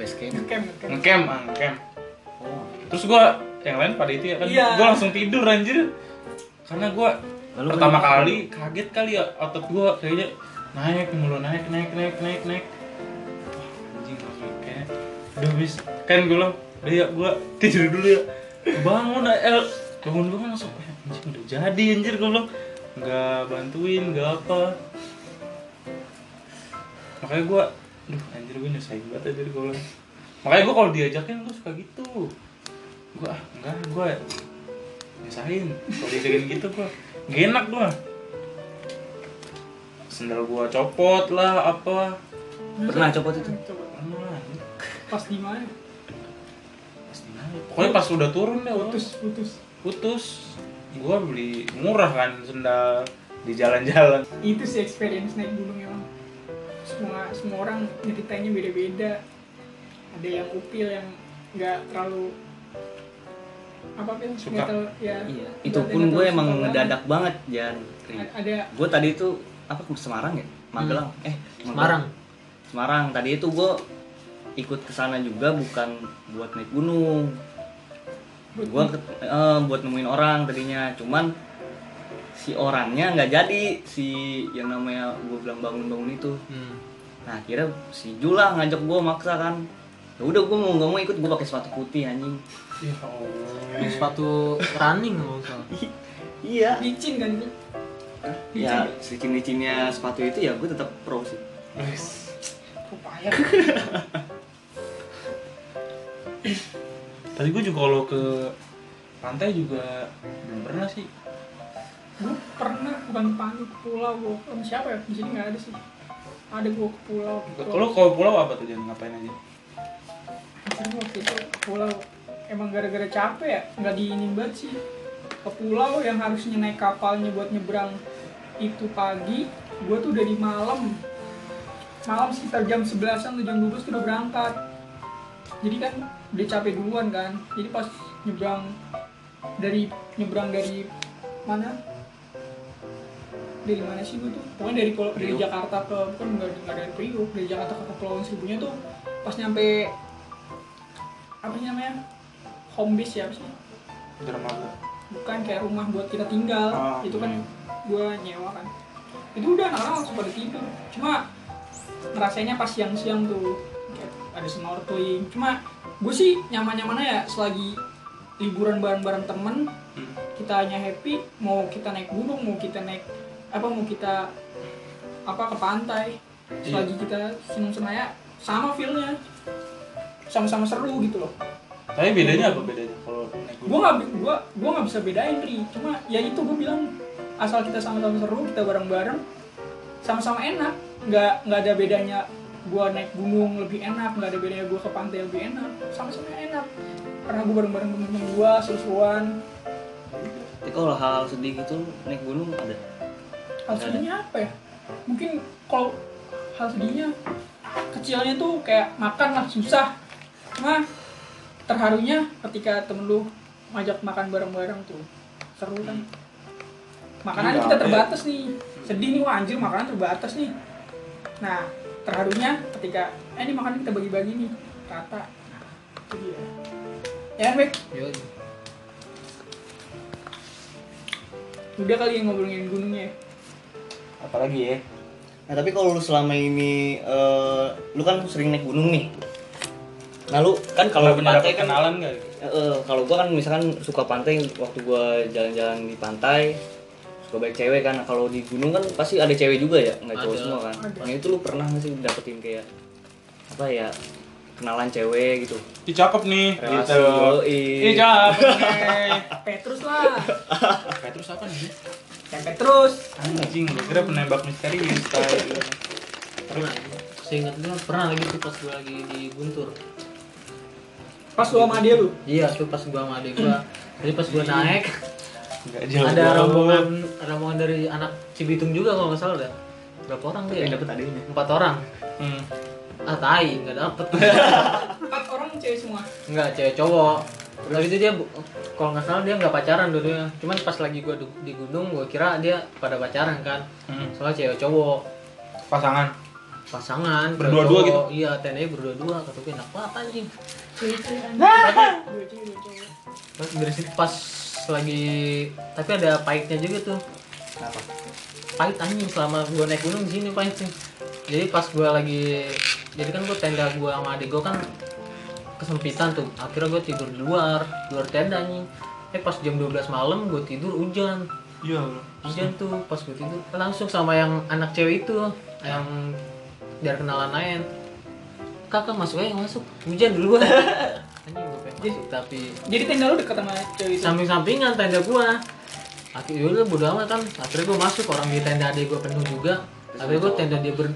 D: base camp
A: Ngecamp, ngecamp.
B: Ngecamp, ah, ngecamp.
D: Oh.
B: Terus gue yang lain pada itu ya kan,
A: Iya.
B: gue langsung tidur anjir. Karena gue
D: Lalu
B: pertama
D: kenapa?
B: kali kaget kali ya otot gue kayaknya naik mulu naik naik naik naik naik. Wah, anjing langsung kayak udah bis kan gue bilang udah ya gue tidur dulu ya bangun el bangun bangun langsung "Eh, anjing udah jadi anjir gue bilang nggak bantuin nggak apa makanya gue duh anjir gue nyusahin banget anjir gue bilang makanya gue kalau diajakin gue suka gitu gue ah enggak gue nyusahin kalau diajakin gitu gue gak enak gue sendal gue copot lah apa
D: pernah copot itu
A: Coba.
B: Lama lah, anjir.
A: Pas di mana?
B: Pas di mana? pokoknya pas udah turun deh putus
A: Putus, putus.
B: putus gue beli murah kan sendal di jalan-jalan
A: Itu sih experience naik gunung emang. Semua semua orang nyeritainnya beda-beda. Ada yang upil yang nggak terlalu apa pil?
B: Suka.
A: nggak terlalu- ya,
D: iya
A: nggak-
D: itu
A: nggak
D: pun gue
A: terlalu suka
D: emang
A: banget.
D: ngedadak banget Jan
A: A- Ada
D: gue tadi itu apa ke Semarang ya Magelang eh
C: Semarang
D: Semarang tadi itu gue ikut ke sana juga bukan buat naik gunung gue buat nemuin orang tadinya cuman si orangnya nggak jadi si yang namanya gue bilang bangun bangun itu
C: hmm.
D: nah akhirnya si Jula ngajak gue maksa kan ya udah gue mau nggak mau ikut gue pakai sepatu putih anjing
B: ya Allah
C: Yang sepatu running kalau nggak salah
D: iya
A: licin kan itu.
D: ya licin licinnya sepatu itu ya gue tetap pro sih
B: Wes.
A: Upaya.
B: Tadi gue juga kalau ke pantai juga belum pernah sih.
A: gue pernah bukan pantai ke pulau gue Em, siapa ya di sini nggak ada sih ada gue ke pulau gitu
B: Kalau kalau pulau apa tuh jangan ngapain aja?
A: Anjir, gua waktu itu ke pulau emang gara-gara capek ya nggak diinin banget sih ke pulau yang harusnya naik kapalnya buat nyebrang itu pagi gue tuh dari malam malam sekitar jam 11an atau jam 12 tuh udah berangkat jadi kan udah capek duluan kan jadi pas nyebrang dari nyebrang dari mana dari mana sih gue tuh pokoknya dari pulau dari
D: Priuk.
A: Jakarta ke bukan nggak nggak dari Priuk dari Jakarta ke Kepulauan Seribunya tuh pas nyampe apa sih namanya home base ya apa sih
B: Dermaga.
A: bukan kayak rumah buat kita tinggal
B: Ah,
A: itu kan
B: hmm.
A: gua nyewa kan itu udah anak-anak langsung pada tidur cuma ngerasainnya pas siang-siang tuh kayak ada snorkeling cuma gue sih nyaman-nyamannya ya selagi liburan bareng-bareng temen
B: Hmm.
A: kita hanya happy mau kita naik gunung mau kita naik apa mau kita apa ke pantai
B: Iya.
A: selagi kita seneng seneng ya sama feelnya sama-sama seru gitu loh
B: Tapi bedanya apa bedanya kalau naik
A: gue
B: gunung?
A: nggak bi- gua gua nggak bisa bedain ri cuma ya itu gue bilang asal kita sama-sama seru kita bareng-bareng sama-sama enak nggak nggak ada bedanya gue naik gunung lebih enak nggak ada bedanya gue ke pantai lebih enak sama-sama enak karena gue bareng-bareng temen gue seru-seruan
D: tapi kalau hal, hal sedih gitu naik gunung ada
A: hal
D: Ada.
A: sedihnya apa ya mungkin kalau hal sedihnya kecilnya tuh kayak makan lah susah cuma terharunya ketika temen lu ngajak makan bareng-bareng tuh seru kan makanannya
B: Hmm. Iya,
A: kita
B: iya.
A: terbatas nih sedih nih wah anjir makanan terbatas nih nah terharunya ketika eh ini makanan kita bagi-bagi nih rata nah, itu dia ya kan Bek?
B: Iya.
C: Yoi.
A: udah kali yang ngobrolin gunungnya ya?
B: Apalagi ya?
D: Nah tapi kalau lu selama ini eh, lu kan sering naik gunung nih. Nah lu kan kalau ke
B: punya
D: pantai kan
B: kenalan nggak gitu?
D: Eh, eh, kalau gua kan misalkan suka pantai waktu gua jalan-jalan di pantai suka banyak cewek kan Nah, kalau di gunung kan pasti ada cewek juga ya nggak cowok
C: Ada.
D: semua kan
A: Ada.
D: nah itu lu pernah nggak sih dapetin kayak apa ya kenalan cewek gitu
B: Ih cakep nih
D: relasi
B: gitu.
D: yoi.
B: Ih cakep nih.
A: Petrus lah
B: Kayak terus apa nih?
A: dan Petrus
B: Anjing, gue kira penembak misterius kayak gitu. Terus
C: Seingat gue pernah lagi tuh pas gue lagi di Guntur.
A: pas lu sama dia lu
C: Iya, tuh pas gua sama adik gua. Jadi pas gua naik
B: nggak jauh.
C: ada
B: banget.
C: rombongan rombongan dari anak Cibitung juga kalau nggak salah dah. Berapa orang tuh ya?
D: yang Iya, dapet adanya
C: Empat orang.
B: Hmm.
C: Ah tai, nggak dapet.
A: empat orang cewek semua
C: nggak cewek cowok. Tapi itu dia bu- kalau nggak salah dia nggak pacaran dulunya. Cuman pas lagi gua du- di gunung gua kira dia pada pacaran kan.
B: Hmm.
C: Soalnya cewek cowok
B: Pasangan.
C: pasangan cewek
B: Berdua-dua
C: cowok.
B: gitu?
C: iya TNI berdua-dua kata gue enak banget anjing
A: cewek cewek anjing cewek cewek
C: Terus dari situ pas lagi tapi ada pahitnya juga tuh.
D: Apa?
C: Pahit anjing selama gua naik gunung di sini pahit sih. Jadi pas gua lagi jadi kan gua tenda gua sama adik gua kan kesempitan tuh. Akhirnya gua tidur di luar, di luar tenda anjing. Eh pas jam 12 malam gua tidur hujan.
B: Iya.
C: Hujan tuh pas gua tidur langsung sama yang anak cewek itu yang biar kenalan lain. Kakak masuk aja masuk. Hujan duluan. anjing gua pengen masuk tapi
A: jadi tenda lu dekat sama cewek itu
C: samping-sampingan tenda gua akhirnya yaudah bodo amat kan akhirnya gua masuk orang di tenda adik gua penuh juga akhirnya gua tenda dia ber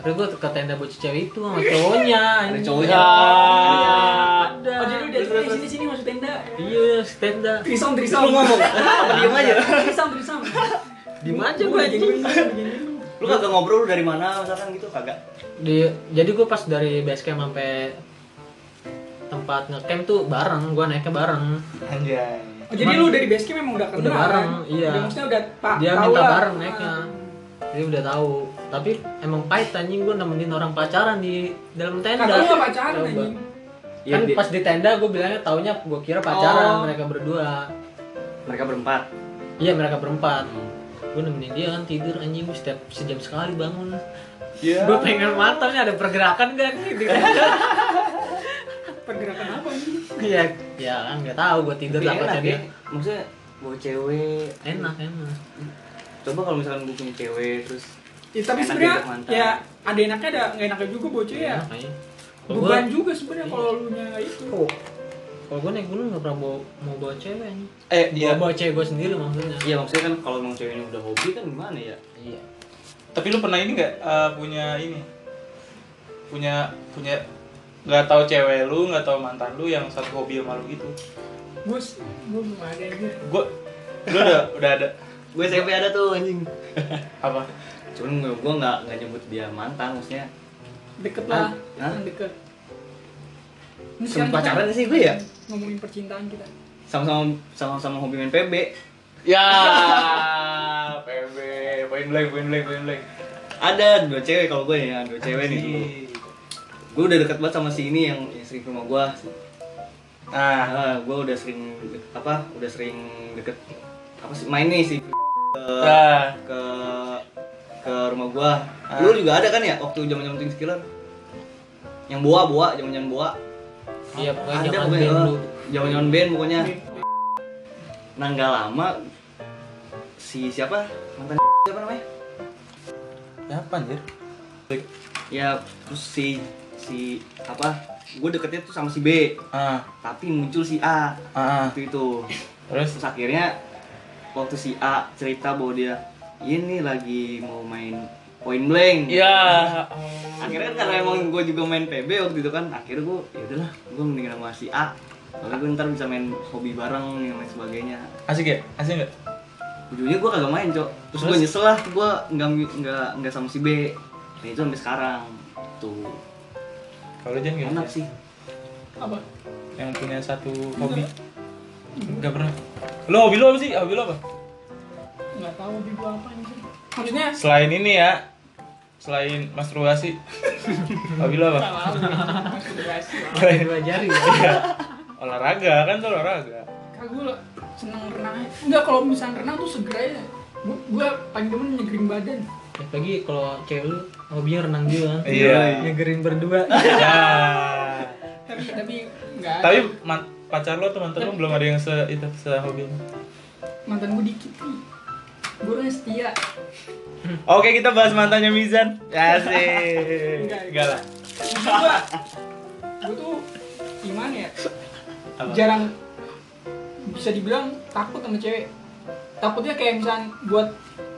C: akhirnya gua ke tenda bocah cewek itu sama cowoknya
D: ada
C: anjing.
D: cowoknya
C: Iya, ada
A: oh jadi lu dari sini sini sini masuk tenda
C: iya si tenda
A: Trisom, trisom.
D: lu ngomong apa diem aja
A: Trisom, trisom.
C: di mana
A: Gue
C: gua
A: lagi
C: anjing?
D: lu kagak ngobrol lu dari mana misalkan gitu kagak
C: di jadi gua pas dari base camp sampai tempat ngecamp tuh bareng gua naiknya bareng
B: Anjay.
A: Oh, jadi lu dari base camp memang udah kenal
C: Udah bareng,
A: kan?
C: iya.
A: Udah, maksudnya udah pak
C: dia
A: tahu
C: minta
A: Ah, lah. Ah.
C: bareng naiknya jadi udah tahu tapi emang pahit anjing gua nemenin orang pacaran di dalam
A: Ah.
C: tenda
A: Kakak lu gak pacaran
C: Coba.
A: anjing.
D: Iya,
C: kan
D: dia-
C: pas di tenda gue bilangnya taunya gue kira pacaran
A: Oh.
C: mereka berdua
D: mereka berempat
C: iya mereka berempat gue nemenin dia kan tidur anjing gua setiap sejam sekali bangun
B: Iya.
C: gue pengen mata nih ada pergerakan gak nih di
A: Pergerakan apa anjing?
C: ya ya kan nggak tahu gue tidur
D: Tapi
C: lah
D: enak ya
C: pacarnya
D: maksudnya bawa cewek
C: enak enak
D: coba kalau misalkan gue punya cewek terus
A: Ya, tapi
D: Enak
A: sebenarnya
D: diajak mantan.
A: ya ada enaknya ada nggak enaknya juga
B: Iya.
A: bocah ya.
C: Enak aja. Iya, Kalau
A: Beban
C: gua-
A: juga sebenarnya kalau lu nya gitu. itu.
C: Oh. kalau gue naik gunung nggak pernah bawa, mau bawa cewek anjing
B: Eh,
C: Bawa-
B: iya.
C: bawa cewek gue sendiri maksudnya
D: iya maksudnya kan kalau emang ceweknya udah hobi kan gimana ya
C: iya
B: Tapi lu pernah ini nggak eh, punya ini? Punya punya nggak tahu cewek lu, nggak tahu mantan lu yang satu hobi sama lu gitu.
A: Gue gue belum ada aja.
B: Gua lu udah udah ada
D: gue SMP ada tuh anjing
B: apa?
D: cuman gue nggak nggak nyebut dia mantan maksudnya
A: Deket lah.
D: Hah?
A: Yang deket. Ini
D: Sebelum
A: sekarang
D: Ah, pacaran
A: kita
D: sih gue ya
A: ngomongin percintaan kita.
D: sama-sama sama-sama hobi main PB
B: Ya, PB, poin blank, poin blank, poin blank.
D: ada dua cewek kalau gue ya dua cewek nih dulu gue udah deket banget sama si ini yang, yang sering ke rumah gue
B: Nah,
D: ah, gue udah sering deket- apa udah sering deket apa sih main nih sih
B: nah,
D: ke ke rumah gua.
B: Ah.
D: Dulu juga ada kan ya waktu zaman-zaman Twin Killer. Yang boa boa, zaman-zaman boa.
C: iya pokoknya
D: ada
B: ya.
C: jangan
D: pokoknya,
C: band
D: eh,
C: lu
D: zaman-zaman band pokoknya. Nah, nggak lama si siapa? Mantan siapa namanya?
B: siapa anjir?
D: Ya, terus si si apa? Gue deketnya tuh sama si B,
B: Ah,
D: tapi muncul si A
B: ah, ah.
D: waktu itu.
B: terus
D: Terus akhirnya waktu si A cerita bahwa dia ini lagi mau main point blank.
B: Ya,
D: akhirnya kan karena emang gue juga main PB waktu itu kan akhirnya gue ya udahlah gue mendingan sama si A soalnya gue ntar bisa main hobi bareng yang lain sebagainya
B: asik ya, asik nggak?
D: ujungnya gue kagak main cok terus gue
B: Terus?
D: nyesel lah gue nggak nggak nggak sama si B dan itu sampai sekarang tuh
B: Kalau Jen
C: Iya,
B: gimana?
D: enak sih
A: Apa?
B: Yang punya satu hobi? Enggak pernah. Lo hobi lo apa sih? Hobi lo apa?
A: Nggak tahu hobi gue apa anjing. Maksudnya
B: Selain ini ya, selain masturbasi, hobi lo apa?
A: salah. Masturbasi.
C: Kayak dua jari ya.
B: Olahraga kan tuh olahraga.
A: Kak gue seneng renang aja. Enggak kalau misalnya renang tuh segera ya. Gue gue paling demen nyegerin badan.
C: Apalagi kalau cewek lu hobinya renang juga kan?
B: Iya.
C: Nyegerin berdua.
B: Ya.
A: Ya tapi tapi nggak ada.
B: Tapi man- pacar lo teman teman belum ada yang se itu se hobi.
A: mantan gue dikit nih gue orangnya setia
B: Oke kita bahas mantannya Mizan. Asik.
A: Enggak,
B: Enggak lah.
A: gue gue tuh gimana ya
B: Apa?
A: jarang bisa dibilang takut sama cewek takutnya kayak misalnya buat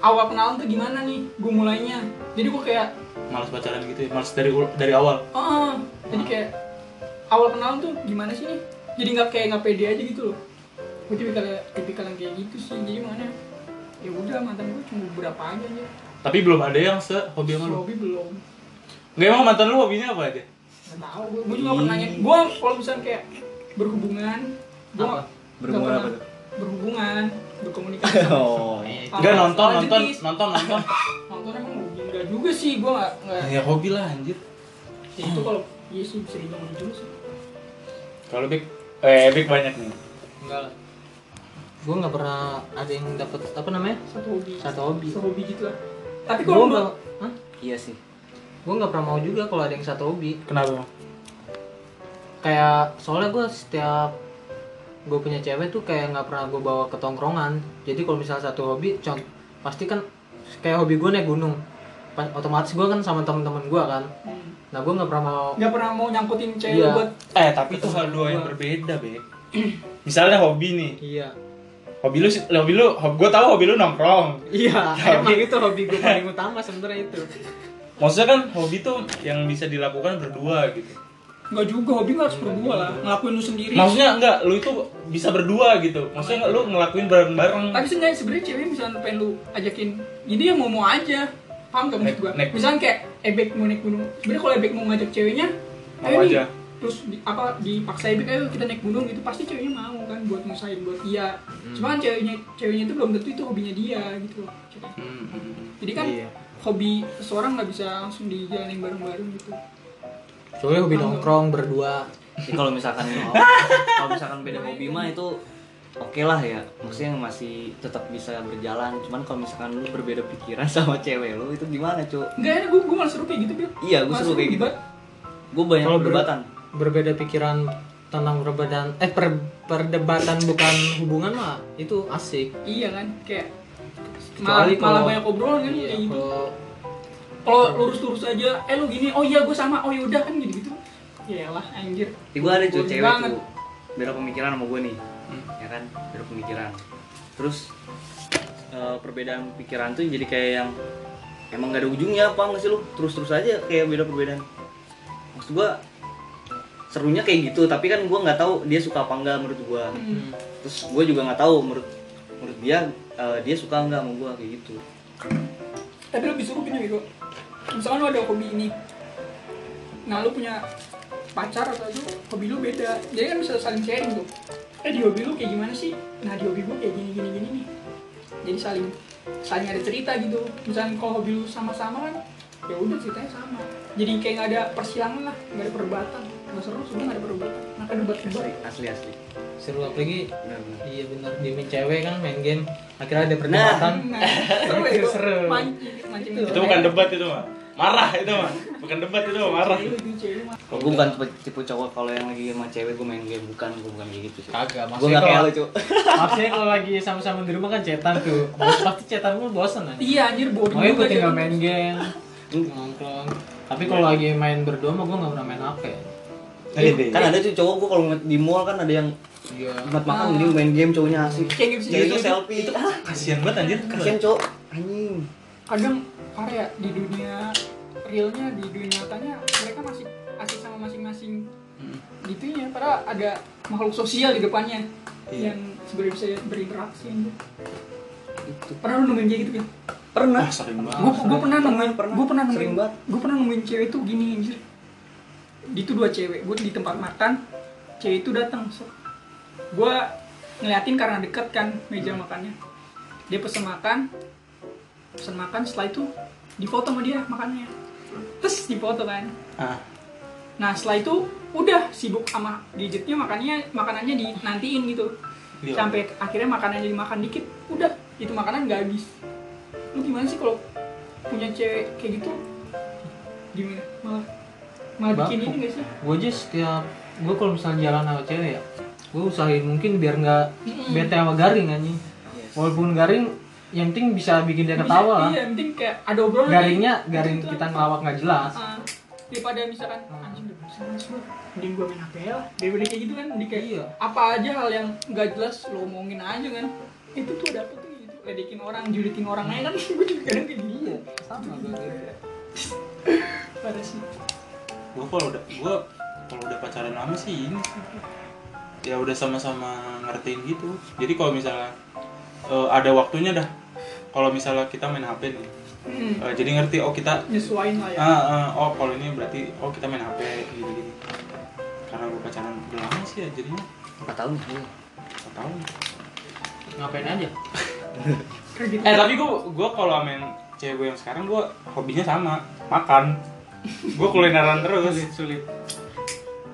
A: awal kenalan tuh gimana nih gue mulainya jadi gue kayak
B: Males pacaran gitu ya. Males dari ul- dari awal.
A: ah jadi kayak awal kenalan tuh gimana sih nih jadi nggak kayak nggak pede aja gitu loh gue tipikal tipikal yang kayak gitu sih jadi mana ya udah mantan gue cuma beberapa aja aja
B: Tapi belum ada yang se hobi sama lo.
A: hobi belum
B: Enggak emang mantan lo hobinya apa aja?
A: Gak tau, gue, gue juga pernah nanya Gue kalau misalnya kayak berhubungan gua
C: Apa?
A: nggak-
D: Berhubungan
A: nggak
D: apa
A: pernah- Berhubungan, berkomunikasi
D: Oh,
C: Iya.
B: Enggak nonton,
A: Soal
B: nonton,
A: jenis.
B: nonton, nonton.
A: Nonton emang hobi? enggak juga sih, gue gak, nggak
B: Ya hobi lah anjir.
A: ya, Itu kalau, iya sih bisa dibilang hobi juga sih
B: Kalau Big eh Big banyak nih.
C: Enggak lah. Gue nggak pernah ada yang dapat apa namanya?
A: Satu hobi
C: Satu hobi.
A: Satu hobi gitu lah Tapi
C: Gue
A: kalau
C: nggak,
A: menurut-
C: Hah?
D: iya sih.
C: gue nggak pernah mau juga kalau ada yang satu hobi.
B: Kenapa?
C: Kayak soalnya gue setiap gue punya cewek tuh kayak nggak pernah gue bawa ke tongkrongan. Jadi kalau misalnya satu hobi, con, pasti kan kayak hobi gue naik gunung. Pas- otomatis gue kan sama temen-temen gue kan.
A: hmm.
C: Nah gue nggak pernah mau
A: Nggak pernah mau nyangkutin cewek lu
C: Iya.
A: buat
B: Eh tapi itu hal dua yang berbeda Bek. Misalnya hobi nih,
C: Iya.
B: hobi lu, sih- hobi lu, hobi, gue tahu hobi lu nongkrong.
C: Iya, emang itu hobi gue paling utama sebenarnya itu.
B: Maksudnya kan hobi tuh yang bisa dilakukan berdua gitu.
A: Nggak juga, hobi nggak
C: Iya,
A: harus berdua lah Ngelakuin lu sendiri
B: Maksudnya enggak, lu itu bisa berdua gitu. Maksudnya enggak, lu ngelakuin bareng-bareng.
A: Tapi seenggaknya sebenarnya cewek misalnya pengen lu ajakin Jadi ya mau-mau aja Paham gak maksud
B: Nek-
A: gue?
B: nek.
A: Misalnya kayak Ebek mau naik gunung Sebenernya kalau Ebek mau ngajak ceweknya
B: Mau
A: "Ayo nih."
B: aja.
A: Terus di, apa dipaksa Ebek ayo kita naik gunung gitu Pasti ceweknya mau kan buat ngusahain buat dia Cuma kan ceweknya, ceweknya itu belum tentu itu hobinya dia gitu loh
B: Hmm, hmm.
A: Jadi kan
B: Iya.
A: hobi seseorang nggak bisa langsung dijalanin bareng-bareng gitu
C: Soalnya hobi nongkrong berdua.
D: Jadi kalau misalkan kalau misalkan beda hobi mah itu oke lah ya. Maksudnya masih tetap bisa berjalan. Cuman kalau misalkan lu berbeda pikiran sama cewek lu itu gimana, Cuk?
A: Enggak ya, gue, gue malah seru kayak gitu Beb
D: Iya, gue
A: Malah
D: suka kayak gitu.
A: debat.
D: Gue banyak
C: Kalau ber-
D: perdebatan.
C: berbeda pikiran tentang perbedaan eh per- perdebatan bukan hubungan mah itu asik.
A: Iya kan, kayak malah,
C: Kecuali
A: malah
C: kalau-
A: banyak
C: Iya,
A: obrolan kan kayak gitu
C: Kalau
A: kalau lurus-lurus aja eh lu gini oh iya gue sama oh yaudah kan gitu gitu Yalah anjir
D: Tapi gue ada cuy
A: Boring
D: cewek
A: banget.
D: tuh beda pemikiran sama gue nih, ya kan beda pemikiran. Terus eh, perbedaan pikiran tuh jadi kayak yang emang gak ada ujungnya paham gak sih lu? Terus terus aja kayak beda perbedaan. Maksud gue serunya kayak gitu tapi kan gue nggak tahu dia suka apa enggak menurut gue.
A: Hmm.
D: Terus gue juga nggak tahu menurut menurut dia eh, dia suka enggak sama gue kayak gitu.
A: tapi lu disuruh gini gitu misalkan lu ada hobi ini nah lu punya pacar atau lu hobi lu beda jadi kan bisa saling sharing tuh eh di hobi lu kayak gimana sih nah di hobi gue kayak gini gini gini nih jadi saling saling ada cerita gitu misalnya kalau hobi lu sama-sama kan ya udah ceritanya sama jadi kayak nggak ada persilangan lah nggak ada perdebatan nggak seru sebenarnya nggak ada perdebatan nah kan debat debat
D: Asli asli asli.
C: seru apalagi
D: Benar-benar.
C: iya benar diemin cewek kan main game akhirnya ada perdebatan.
A: Nah, seru ya
C: Itu
A: itu
C: seru.
A: mancing mancing
B: Itu bukan debat itu mah. Marah itu mah. Bukan debat itu mah marah.
D: Gue bukan tipe, tipe cowok kalau yang lagi sama cewek gue main game bukan gue bukan kayak gitu sih.
C: Kagak,
D: Gue
C: maksudnya
D: gak kayak lu
C: kalau
D: cuy.
C: maksudnya kalau lagi sama-sama di rumah kan cetan tuh. Bos- pasti cetan mulu bosen aja.
A: Iya anjir boring.
C: Makanya
A: juga
C: gue tinggal
A: cewek.
C: main game, nongkrong. Tapi kalau lagi main berdua mah gue nggak pernah main HP.
D: kan ada tuh cowok gue kalau ngeliat di mall kan ada yang
C: Iya.
D: tempat
A: Ah.
D: makan dia main game cowoknya asik
A: Kayak gitu sih.
D: cewek itu
A: Itu-
D: selfie iya, itu ah,
B: Kasihan banget anjir.
D: kasian cowok anjing
A: Kadang parah ya di dunia realnya di dunia nyatanya mereka masih asik sama masing-masing
B: Hmm.
A: gitu ya. Padahal ada makhluk sosial di depannya
B: Iya.
A: yang sebenarnya bisa berinteraksi. anjir.
D: itu
A: Pernah lu nemuin kayak gitu kan?
D: pernah
B: Ah, sering
A: Gue
B: banget.
A: gue pernah nemuin
D: pernah.
A: Gue pernah nemuin
D: Sering banget.
A: Gue pernah nemuin cewek tuh gini anjir. Itu dua cewek. Gue di tempat makan. Cewek itu datang. Gue ngeliatin karena deket kan meja
D: Hmm.
A: makannya. Dia pesen makan. Pesen makan setelah itu difoto sama dia makannya.
D: Hmm.
A: Terus difoto kan.
B: Ah,
A: Nah setelah itu udah sibuk sama gadgetnya makannya makanannya dinantiin gitu.
B: Iya.
A: Sampai akhirnya makanannya dimakan dikit, udah itu makanan nggak habis. Lu gimana sih kalau punya cewek kayak gitu? Gimana? Malah Malah bikin
C: Baku.
A: ini gak sih?
C: gue aja setiap gue kalau misalnya jalan sama cewek ya gue usahain mungkin biar nggak bete sama garing anjing walaupun garing yang penting bisa bikin dia ketawa lah
A: Iya, yang penting kayak ada obrolan. gitu.
C: garingnya
A: Itu-
C: garing
A: itu
C: kita
A: aja.
C: ngelawak nggak jelas
A: Ah, daripada misalkan
C: Ah.
A: anjing udah bosan males gua, mending gua main HP lah daripada kayak gitu kan mending kayak
C: Iya.
A: apa aja hal yang nggak jelas lo omongin aja kan itu tuh dapet tuh gitu ledekin orang julitin orang aja kan gue juga kadang kayak gini
C: iya sama gue
A: pada sih
B: gue kalau udah gue kalau udah pacaran lama sih ini ya udah sama-sama ngertiin gitu jadi kalau misalnya eh, ada waktunya dah kalau misalnya kita main HP nih
A: hmm,
B: eh, jadi ngerti oh kita
A: nyesuain lah ya
B: ah, ah, oh kalau ini berarti oh kita main HP gitu gitu karena gue pacaran udah lama sih ya jadinya
D: empat tahun iya.
B: nggak tahu
C: ngapain aja
A: Kayak gitu.
B: eh tapi gue gue kalau main cewek gue yang sekarang gue hobinya sama makan gue kulineran terus
C: sulit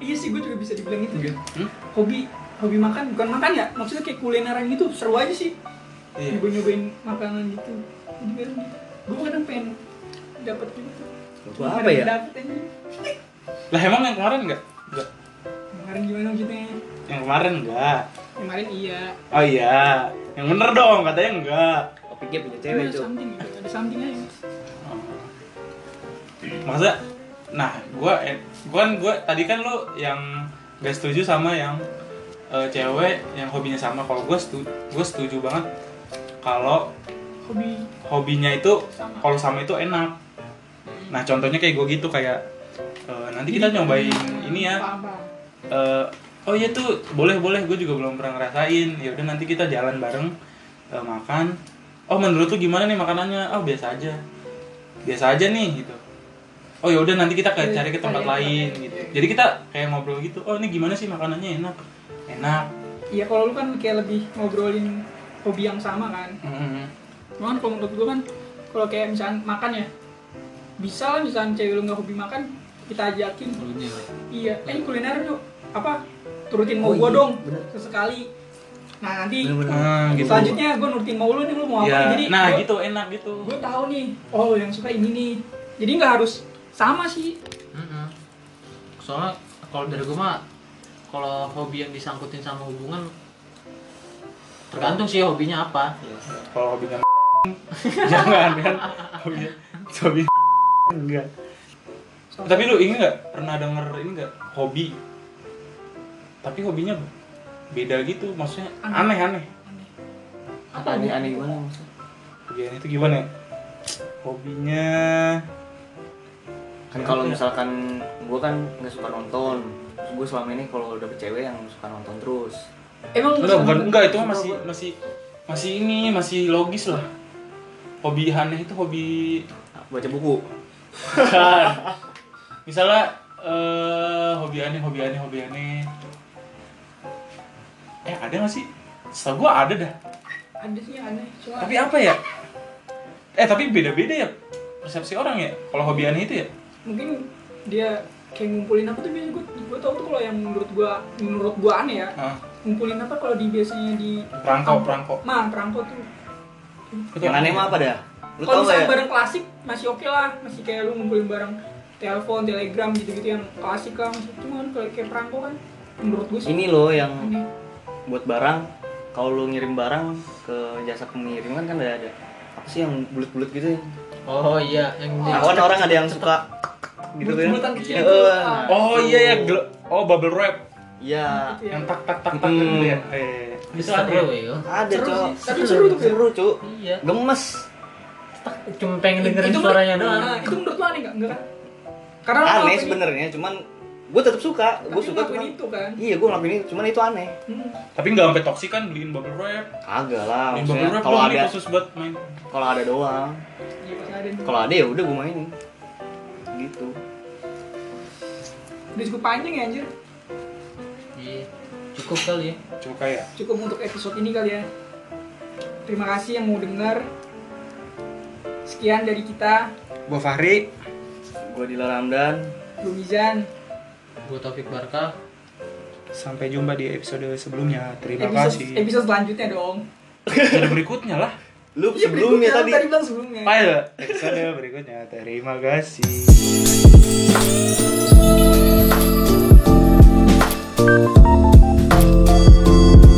A: iya sih gue juga bisa dibilang itu kan
B: Hmm?
A: hobi hobi makan bukan makan ya maksudnya kayak kulineran gitu seru aja sih
B: iya
A: gue nyobain makanan gitu juga gitu gue kadang pengen dapet gitu
D: Gua apa ya?
A: dapet aja
B: lah emang yang kemarin nggak nggak
A: kemarin gimana gitu ya
B: yang kemarin nggak
A: kemarin iya
B: Oh iya, yang bener dong katanya enggak.
D: Opiknya punya
A: Cuma
D: cewek
A: ada
D: itu.
A: something gitu ada something aja
B: Masa nah, gua eh, gua kan gua tadi kan lu yang gak setuju sama yang eh, cewek yang hobinya sama. Kalau gua setuju, gua setuju banget kalau
A: hobi
B: hobinya itu
A: Sama.
B: kalau sama itu enak. Nah, contohnya kayak gua gitu kayak eh, nanti kita nyobain ini ya.
A: paham, paham.
B: Eh, oh iya tuh boleh boleh gue juga belum pernah ngerasain ya udah nanti kita jalan bareng eh, makan oh menurut lu gimana nih makanannya oh biasa aja biasa aja nih gitu oh ya udah nanti kita
A: Iya,
B: kayak cari ke tempat lain gitu jadi kita kayak ngobrol gitu oh ini gimana sih makanannya enak enak
A: iya kalau lu kan kayak lebih ngobrolin hobi yang sama kan
B: Mm.
A: cuman kalau menurut gue kan kalau kayak misalkan makan ya bisa lah misalkan cewek lu nggak hobi makan kita ajakin iya eh kuliner yuk apa turutin mau
D: Oh,
A: gua
D: iya,
A: dong
D: bener.
A: sesekali nah nanti
B: Nah, gitu
A: selanjutnya gua nurutin mau lu nih lu mau apa
B: Ya,
A: nih. jadi
B: nah
A: gua,
B: gitu enak gitu
A: gua tahu nih oh yang suka ini nih jadi nggak harus sama sih
C: Mm-mm. Soalnya kalau dari gue mah kalau hobi yang disangkutin sama hubungan tergantung sih hobinya apa.
B: kalau hobinya jangan kan hobinya hobinya enggak
A: Soalnya-
B: Tapi lu ini nggak pernah denger ini nggak hobi? Tapi hobinya beda gitu, maksudnya
A: Aneh.
B: aneh-aneh.
A: apa
D: Aneh
A: gua-
D: aneh gimana maksudnya?
B: Hobinya itu gimana? ya? Hobinya
D: Kan kalau misalkan gua kan nggak suka nonton. Terus gua selama ini kalau dapet cewek yang suka nonton terus.
A: emang
B: enggak bukan enggak itu mah
D: Enggak,
B: masih
D: gua-
B: masih masih ini masih logis lah. Hobi aneh itu hobi
D: Baca buku.
B: bukan. Misalnya eh hobi aneh, hobi aneh, hobi aneh. Eh ada nggak sih? Setahu gua ada dah.
A: ada sih yang aneh soalnya
B: Tapi apa ya? Eh tapi beda-beda ya persepsi orang ya. Kalau hobi aneh itu ya.
A: mungkin dia kayak ngumpulin apa tuh biasanya gue gue tau tuh kalau yang menurut gua menurut gua aneh ya
B: Hah,
A: ngumpulin apa kalau di biasanya di
B: Ah, perangkok, perangkok.
A: mah perangkok tuh
B: Itu
D: Yang aneh mah apa dah? Lu
A: kalau
D: tau
A: misalnya
D: gak ya?
A: barang klasik masih oke lah masih kayak lu ngumpulin barang telepon telegram gitu-gitu yang klasik lah masih cuman kalau kayak perangko kan menurut gue sih
D: Ini loh yang
A: aneh. gitu
D: buat barang. Kalau lu ngirim barang ke jasa pengiriman kan ada ada apa sih yang bulat-bulat gitu ya?
C: Oh iya, yang
D: Nah, kan orang ada yang suka gitu kan.
A: Bulat-bulatan kecil Ah.
D: Iya,
A: itu.
D: nah,
B: Oh iya ya, gel- oh bubble wrap
D: Iya.
A: Gitu ya.
B: yang tak tak tak tak
D: Hmm.
B: gitu ya. Eh,
C: itu
B: itu
C: ada
B: aneh.
C: ya.
D: Ada,
A: Seru
D: Cok.
A: sih. Tapi seru tuh, Cok.
D: Seru, Cok.
C: Iya.
D: Gemes.
C: Cuma pengen dengerin
A: menurut-
C: suaranya
A: nah,
C: doang.
A: itu menurut lo aneh nggak enggak kan karena lo
D: aneh
A: ngelakuin-
D: sebenarnya cuman gue tetap suka
A: tapi lo
D: gue suka
A: ngelakuin
D: cuman
A: itu kan
D: iya gue ngelakuin itu cuman itu aneh
A: Hmm.
B: Tapi nggak sampai toksik kan beliin bubble wrap.
D: kagak lah
B: Beliin
D: maksudnya
B: bubble wrap
D: kalau
B: doang
D: ada
B: nih khusus buat main.
D: kalau ada doang
A: Iya, pasti ada nih.
D: kalau ada ya udah gue mainin gitu
A: udah cukup panjang ya anjir
C: Iya. Cukup kali ya.
B: Coba kayak
A: cukup untuk episode ini kali ya terima kasih yang mau dengar sekian dari kita
B: Gua Fahri.
D: gue di Ramdan
A: Lumizan
C: Gue Taufik Barka.
B: Sampai jumpa di episode sebelumnya. Terima
A: episode,
B: kasih.
A: episode selanjutnya dong
B: Episode berikutnya lah.
D: lu
A: Iya, berikutnya,
D: sebelumnya tadi
A: tadi bilang
B: Iya,
A: sebelumnya
B: Ayo, episode berikutnya. Terima kasih.